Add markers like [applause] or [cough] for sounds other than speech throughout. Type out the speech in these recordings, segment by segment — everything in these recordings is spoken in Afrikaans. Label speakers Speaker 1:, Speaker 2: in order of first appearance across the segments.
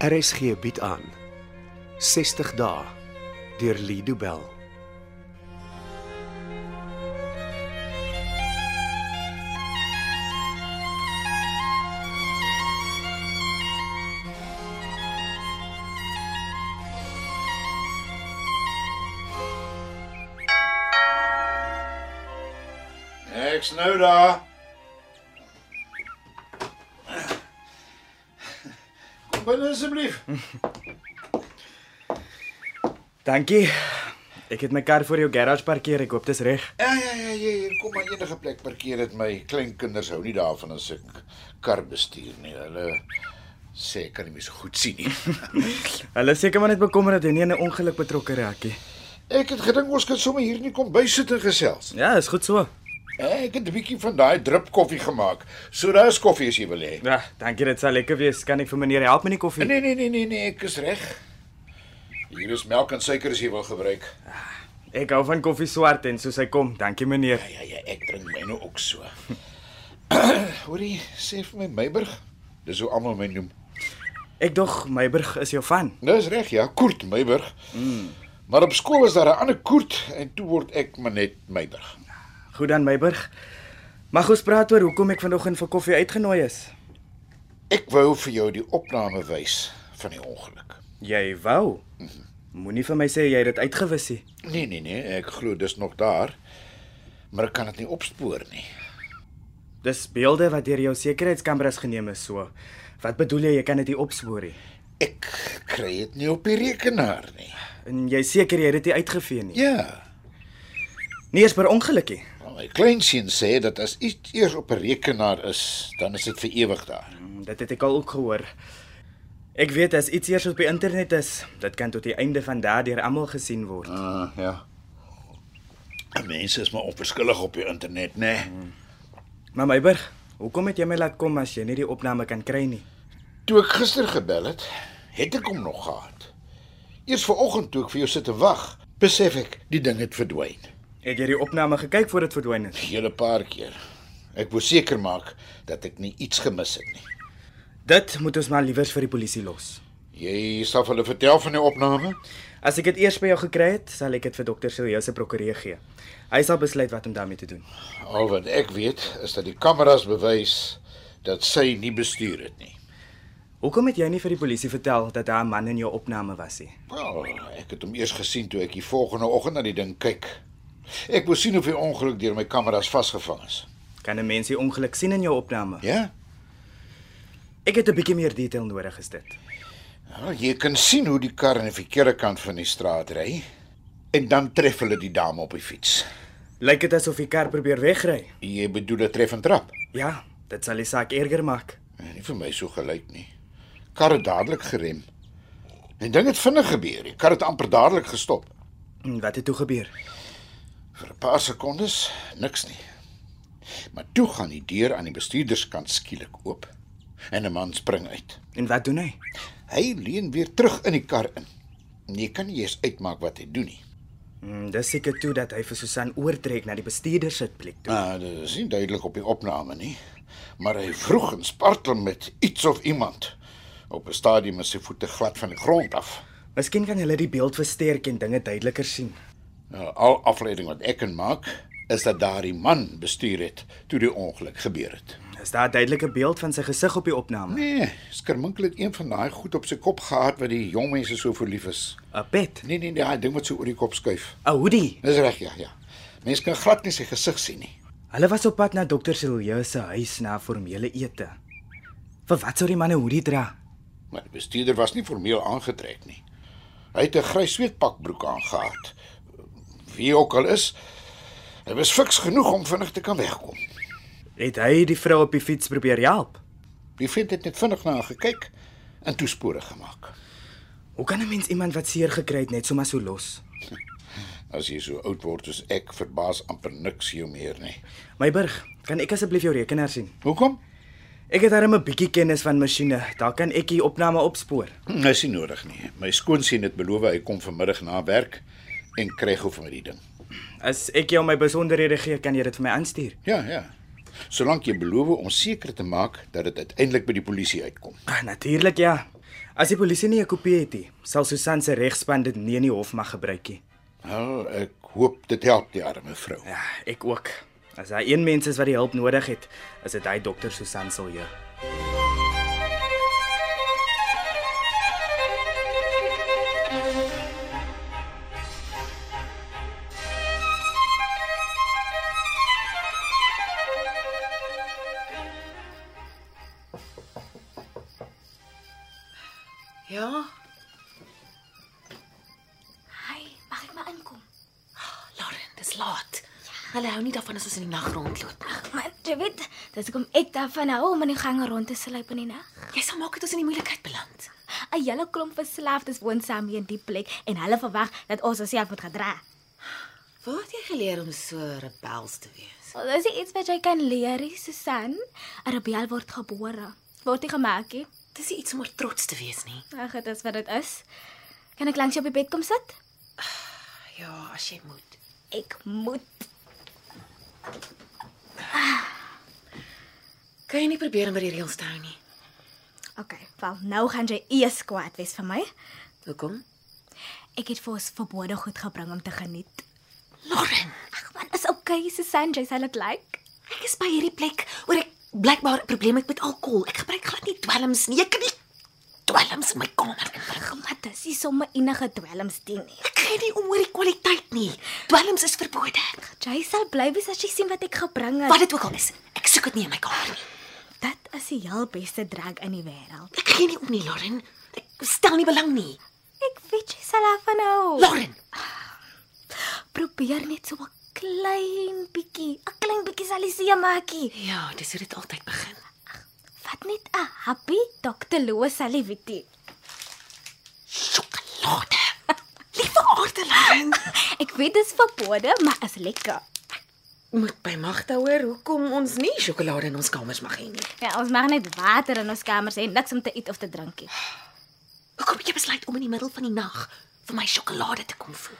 Speaker 1: RSG bied aan 60 dae deur Lido Bell.
Speaker 2: Ek's nou daar. Kom binne asseblief.
Speaker 3: Dankie. Ek het my kar voor jou garage parkeer. Ek hoop dit is reg.
Speaker 2: Ja ja ja, ja, hier kom maar enige plek parkeer dit my kleinkinders hou nie daarvan as ek kar bestuur nie. Hulle sê ek kan nie meer so goed sien [laughs] nie.
Speaker 3: Hulle is seker maar net bekommerd dat jy nie in 'n ongeluk betrokke raak nie.
Speaker 2: Ek het gedink ons kan sommer hier in die kombuis sit en gesels.
Speaker 3: Ja, is goed so.
Speaker 2: Ek het 'n bietjie van daai drup koffie gemaak. So daar is koffie as jy wil hê.
Speaker 3: Ja, dankie. Dit sal lekker wees. Kan ek vir meneer help met die koffie?
Speaker 2: Nee nee nee nee nee, ek is reg. Hier is melk en suiker as jy wil gebruik.
Speaker 3: Ek hou van koffie swart en soos hy kom. Dankie meneer.
Speaker 2: Ja ja, ek drink myne ook so. [clears throat] Hoorie, sê vir my Meiburg. Dis hoe almal my noem.
Speaker 3: Ek dog Meiburg is jou van.
Speaker 2: Dis reg, ja, Koert Meiburg. Mm. Maar op skool was daar 'n ander Koert en toe word ek maar net Meiburg.
Speaker 3: Goed dan Meiburg. Mag ons praat oor hoekom ek vanoggend vir koffie uitgenooi is?
Speaker 2: Ek wou vir jou die opname wys van die ongeluk.
Speaker 3: Jy wou. Moenie vir my sê jy het dit uitgewis nie.
Speaker 2: Nee nee nee, ek glo dis nog daar. Maar ek kan dit nie opspoor nie.
Speaker 3: Dis beelde wat deur jou sekuriteitskameras geneem is, so. Wat bedoel jy jy kan dit nie opspoor nie?
Speaker 2: Ek kry dit nie op die rekenaar nie.
Speaker 3: En jy is seker jy het dit nie uitgevee nie.
Speaker 2: Ja.
Speaker 3: Nie eens Nee, per ongeluk nie.
Speaker 2: maar My kleinseun sê dat as iets eers op 'n rekenaar is, dan is dit vir ewig daar.
Speaker 3: Mm, Dit het ek al ook gehoor. Ek weet as iets eers op die internet is, dit kan tot die einde van daardie deur almal gesien word.
Speaker 2: Ah, ja. En Mense is maar onverskillig op die internet, né? Nee.
Speaker 3: Maar Meiburg, hoekom het jy my laat kom as jy nie die opname kan kry nie?
Speaker 2: Toe ek gister gebel het, het ek hom nog gehad. Eers vanoggend toe ek vir jou sit te wag, besef ek die ding het verdwyn.
Speaker 3: Het jy die opname gekyk voor dit verdwyn het?
Speaker 2: Hele paar keer. Ek wou seker maak dat ek nie iets gemis het nie.
Speaker 3: Dit moet ons maar liewers vir die polisie los.
Speaker 2: Jy sal vir hulle vertel van die opname?
Speaker 3: As ek dit eers by jou gekry het, sal ek dit vir dokter Silje se prokureur gee. Hy sal besluit wat om daarmee te doen.
Speaker 2: Al wat ek weet is dat die kameras bewys dat sy nie bestuur het nie.
Speaker 3: Hoekom het jy nie vir die polisie vertel dat daar 'n man in jou opname was nie?
Speaker 2: Wel, ek het hom eers gesien toe ek die volgende oggend na die ding kyk. Ek wou sien of die ongeluk deur my kameras vasgevang is.
Speaker 3: Kan 'n mens die ongeluk sien in jou opname?
Speaker 2: Ja?
Speaker 3: Ek het 'n bietjie meer detail nodig is dit.
Speaker 2: Ja, jy kan sien hoe die kar aan die verkeerde kant van die straat ry en dan tref hulle die dame op die fiets.
Speaker 3: Lyk dit asof die kar probeer wegry.
Speaker 2: Jy bedoel dit tref en trap.
Speaker 3: Ja, dit sal die saak erger maak.
Speaker 2: Nee, nie vir my so gelyk nie. Kar het dadelik gerem. En ding het vinnig gebeur. Die kar het amper dadelik gestop.
Speaker 3: En Hm, Wat het toe gebeur?
Speaker 2: Vir 'n paar sekondes niks nie. Maar toe gaan die deur aan die bestuurderskant skielik oop en 'n man spring uit.
Speaker 3: En wat doen hy?
Speaker 2: Hy leun weer terug in die kar in. En Jy kan nie eens uitmaak wat hy doen nie.
Speaker 3: Mm, dis seker toe dat hy vir Susan oortrek na die bestuurder se plek toe.
Speaker 2: Nou, dit is nie duidelik op die opname nie, maar hy vroeg en spartel met iets of iemand. Op 'n stadium is sy voete glad van die grond af.
Speaker 3: Miskien kan hulle die beeld versterk en dinge duideliker sien.
Speaker 2: Nou, al afleiding wat ek kan maak, is dat daardie man bestuur het toe die ongeluk gebeur het.
Speaker 3: Is daar 'n duidelike beeld van sy gesig op die opname?
Speaker 2: Nee, skerminkelik een van daai goed op sy kop gehad wat die jong mense so verlief is.
Speaker 3: 'n Pet,
Speaker 2: Nee nee, nee, daai ding wat so oor die kop skuif.
Speaker 3: 'n hoodie.
Speaker 2: Dis reg, ja, ja. Mense kan glad nie sy gesig sien nie.
Speaker 3: Hulle was op pad na dokter Silje se huis na 'n formele ete. Vir wat sou die man 'n hoodie dra?
Speaker 2: Maar die bestuurder was nie formeel aangetrek nie. Hy het 'n grys sweetpakbroek aangehad. Wie ook al is, hy was fiks genoeg om vinnig te kan wegkom.
Speaker 3: Het hy die vrou op die fiets probeer help?
Speaker 2: Die vriend het net vinnig na hom gekyk en toespore gemaak.
Speaker 3: Hoe kan 'n mens iemand wat seer gekry het net sommer so los?
Speaker 2: As jy so oud word soos ek, verbaas amper niks jou meer nie.
Speaker 3: Meiburg, kan ek asseblief jou rekenaar sien?
Speaker 2: Hoekom?
Speaker 3: Ek het darem 'n bietjie kennis van masjiene. Daar kan ek die opname opspoor.
Speaker 2: Hm, Dis nie nodig nie. My skoonseun het beloof hy kom vanmiddag na werk en kry gou vir my die ding.
Speaker 3: As ek jou my besonderhede gee, kan jy dit vir my aanstuur.
Speaker 2: Ja, ja. Solank jy beloof om seker te maak dat dit uiteindelik by die polisie uitkom.
Speaker 3: Ah, natuurlik ja. As die polisie nie 'n kopie het nie, sal Susan se regspan dit nie in die hof mag gebruik nie.
Speaker 2: Nou, ek hoop dit help die arme vrou.
Speaker 3: Ja, ek ook. As daar een mens is wat die hulp nodig het, is dit hy dokter Susan Silje.
Speaker 4: Ja,
Speaker 5: Hi, mag ek maar inkom?
Speaker 4: Lauren, dis laat. Hulle hou nie daarvan as ons in die nag rondloop nie.
Speaker 5: Maar jy weet, dis hoekom ek daarvan hou om in die gange rond te sluip in die nag.
Speaker 4: Jy sal maak dit ons in die moeilikheid beland.
Speaker 5: 'n Hele klomp verslaafdes woon saam hier in die plek en hulle verwag dat ons osself moet gedra.
Speaker 4: Waar het jy geleer om so rebels te wees?
Speaker 5: So, dis nie iets wat jy kan leer, nie, Susan. 'n Rebel word gebore, word nie gemaak nie.
Speaker 4: Dis nie iets om oor trots te wees nie.
Speaker 5: Ag, dit is wat dit is. Kan ek langs jou op die bed kom sit?
Speaker 4: Ja, as jy moet.
Speaker 5: Ek moet.
Speaker 4: Kan jy nie probeer om by die reëls te hou nie?
Speaker 5: Okay, wel, nou gaan jy eers kwaad wees vir my.
Speaker 4: Hoekom?
Speaker 5: Ek het vir ons verbode goed gebring om te geniet.
Speaker 4: Lauren,
Speaker 5: Ag man, is okay, Susan, jy sal dit lyk. Like.
Speaker 4: ek is by hierdie plek oor ek blykbaar 'n probleem het met alkohol. Ek gebruik glad nie dwelms nie. Ek kan nie dwelms in my kamer inbring.
Speaker 5: Maar dis nie sommer enige dwelms dien nie.
Speaker 4: Ek gee nie om oor die kwaliteit nie. Dwelms is verbode.
Speaker 5: Jy sal bly wees as jy sien wat ek gebring het.
Speaker 4: Wat dit ook al is, ek soek dit nie in my kamer nie.
Speaker 5: Dit is die heel beste drag in die wêreld.
Speaker 4: Ek gee nie om nie, Lauren. Ek stel nie belang nie.
Speaker 5: Ek weet jy sal daarvan hou.
Speaker 4: Lauren,
Speaker 5: Probeer net so 'n klein bietjie, 'n klein bietjie sal jy seë maakie.
Speaker 4: Ja, dis hoe dit altyd begin.
Speaker 5: Vat net 'n happie Dr. Loo sal jy weet. nie.
Speaker 4: Sjokolade. [laughs] Liewe aardelyn.
Speaker 5: Ek weet dit is verbode, maar is lekker.
Speaker 4: [laughs] Moet by magte hoor hoekom ons nie sjokolade in ons kamers mag hê nie.
Speaker 5: Ja, ons mag net water in ons kamers hê, niks om te eet of te drink nie.
Speaker 4: Hoekom het jy besluit om in die middel van die nag vir my sjokolade te kom voer?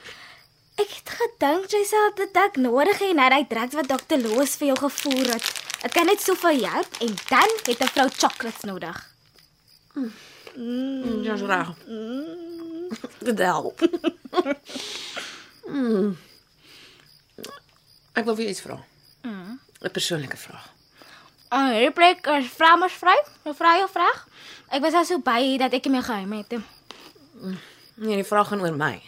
Speaker 5: Ek het gedink jy sal dit dalk nodig hê na daai drugs wat Dr. Loos vir jou gevoer het. Dit kan net soveel help en dan het 'n vrou chocolates nodig.
Speaker 4: Ja, so reg. Dit help. [laughs] Mm. Ek wil vir jou iets vra. 'n Persoonlike vraag.
Speaker 5: Ah, hierdie plek is vlammersvry. Mevrou, jou vraag. Ek was al so by dat ek nie meer geheim het. nie.
Speaker 4: Nee, die vraag gaan oor my.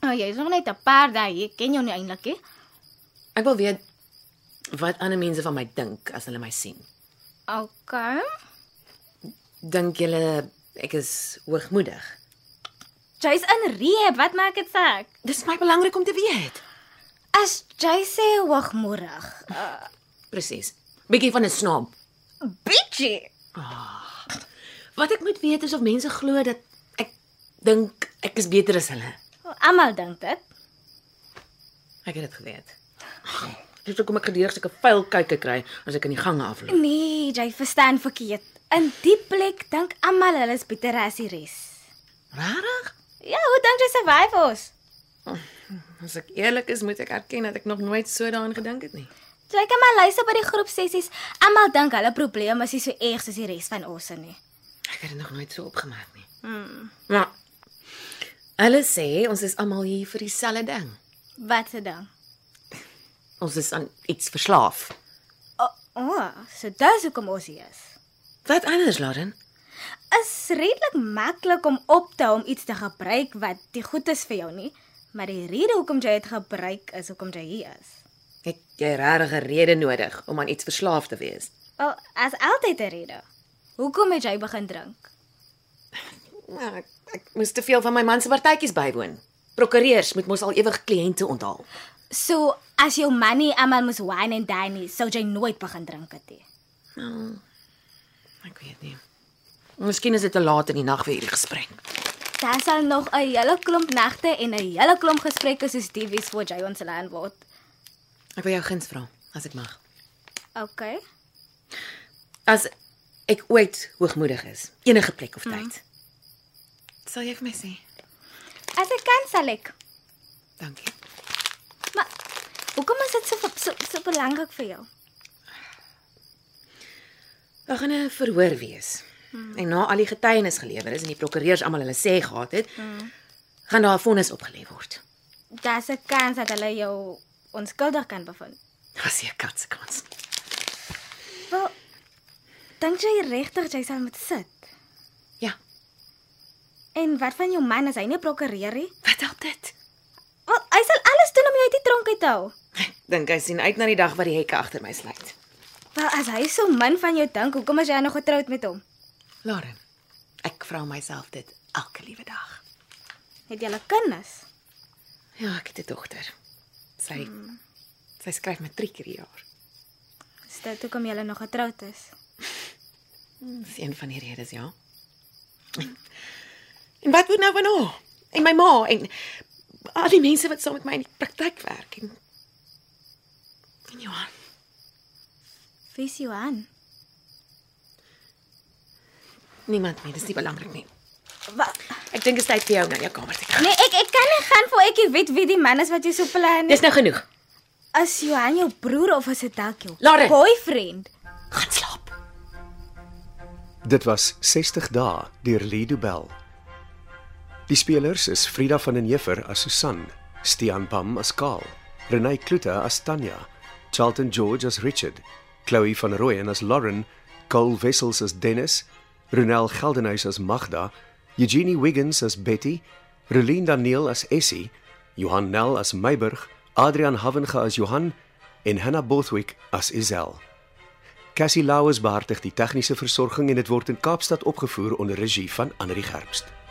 Speaker 5: Ah, jy is nog net 'n paar dae hier. Ek Ken jou nie eintlik nie.
Speaker 4: Ek wil weet wat ander mense van my dink as hulle my sien.
Speaker 5: Okay.
Speaker 4: Dink julle ek is hoogmoedig?
Speaker 5: Jy's in rehab. Wat maak dit saak?
Speaker 4: Dis my belangrik om te weet.
Speaker 5: As jy sê hoogmoedig.
Speaker 4: Presies. Bietjie van 'n snaap.
Speaker 5: Bitchy.
Speaker 4: Wat ek moet weet is of mense glo dat ek dink ek is beter as hulle.
Speaker 5: Almal dink dit.
Speaker 4: Ek het dit geweet. Dis hoekom ek gedurig sulke vuil kykke kry as ek in die gange afloop.
Speaker 5: Nee, jy verstaan verkeerd. In die plek dink almal hulle is beter as die res.
Speaker 4: Regtig?
Speaker 5: Ja, hoe dink jy survive ons?
Speaker 4: As ek eerlik is, moet ek erken dat ek nog nooit so daaraan gedink het nie.
Speaker 5: Jy kan maar luister by die groepsessies. Almal dink hulle probleme is nie so erg soos die res van ons er nie.
Speaker 4: Ek het dit nog nooit so opgemerk nie. Mm. Maar hulle sê ons is almal hier vir dieselfde ding.
Speaker 5: Wat se ding?
Speaker 4: Ons is aan iets verslaaf.
Speaker 5: O, oh, so dis hoekom ons hier is.
Speaker 4: Wat anders, Lauren?
Speaker 5: Is redelik maklik om op te hou om iets te gebruik wat die goed is vir jou nie, maar die rede hoekom jy dit gebruik is hoekom jy hier is.
Speaker 4: Het jy regtig 'n rede nodig om aan iets verslaaf te wees?
Speaker 5: Wel, as altyd 'n rede. Hoekom het jy begin drink?
Speaker 4: Nou, ek, ek moes te veel van my man se partytjies bywoon. Prokureurs moet mos al ewig kliënte onthaal.
Speaker 5: So as jou man nie almal moes wine en dine nie, sou jy nooit begin drink het nie.
Speaker 4: Ek weet nie. Miskien is dit te laat in die nag vir hierdie gesprek.
Speaker 5: Daar sal nog 'n hele klomp nagte en 'n hele klomp gesprekke soos die wies voor jy ons land word.
Speaker 4: Ek wil jou guns vra, as ek mag.
Speaker 5: OK.
Speaker 4: As ek ooit hoogmoedig is, enige plek of tyd. Mm. Sal jy vir my sê?
Speaker 5: As ek kan sal ek.
Speaker 4: Dankie.
Speaker 5: Maar hoekom is dit so so, so belangrik vir jou?
Speaker 4: Daar gaan 'n verhoor wees. En na al die getuienis gelewer is en die prokureurs almal hulle sê gehad het, gaan daar 'n vonnis opgelê word.
Speaker 5: Daar's 'n kans dat hulle jou onskuldig kan bevind.
Speaker 4: Daar's 'n kans kans. nie.
Speaker 5: Wel, dink jy regtig jy sal moet sit?
Speaker 4: Ja,
Speaker 5: En wat van jou man as hy nie prokureer nie?
Speaker 4: wat help dit? [laughs]
Speaker 5: Wel, hy sal alles doen om jou uit die tronk uit te hou.
Speaker 4: Ek dink hy sien uit na die dag wat die hekke agter my sluit.
Speaker 5: Wel, as hy so min van jou dink, hoekom is jy nog getroud met hom?
Speaker 4: Lauren, ek vra myself dit elke liewe dag.
Speaker 5: Het jy 'n kinders?
Speaker 4: Ja, ek het 'n dogter. Sy sy skryf matriek hierdie jaar.
Speaker 5: Is dit hoekom jy nog getroud is?
Speaker 4: Dis een van die redes, ja. En wat word nou van haar? En my ma en al die mense wat saam met my in die praktyk werk en en ja, Johan.
Speaker 5: Vis jou aan.
Speaker 4: Niemand meer, dis nie belangrik nie.
Speaker 5: Wat?
Speaker 4: Ek dink dit is tyd vir jou om na jou kamer te gaan.
Speaker 5: Nee, ek ek kan nie gaan voor ek nie weet wie die man is wat jy so plan nie.
Speaker 4: Dis nou genoeg.
Speaker 5: Is Johan jou broer of is dit dalk jou
Speaker 4: Lauren!
Speaker 5: boyfriend?
Speaker 4: Gaan slaap.
Speaker 1: Dit was 60 dae deur Lido Bell. Die spelers is Frida van den Heever as Susan, Stean Pam as Karl, Renay Klute as Tanya, Charlton George as Richard, Chloe van Rooyen as Lauren, Cole Wessels as Dennis, Ronel Geldenhuys as Magda, Eugenie Wiggins as Betty, Relien Daniel as Essie, Johan Nel as Meiburg, Adrian Havenga as Johan en Hannah Bothwick as Isel. Cassie Lauers behartig die tegniese versorging en dit word in Kaapstad opgevoer onder regie van Anri Gerbst.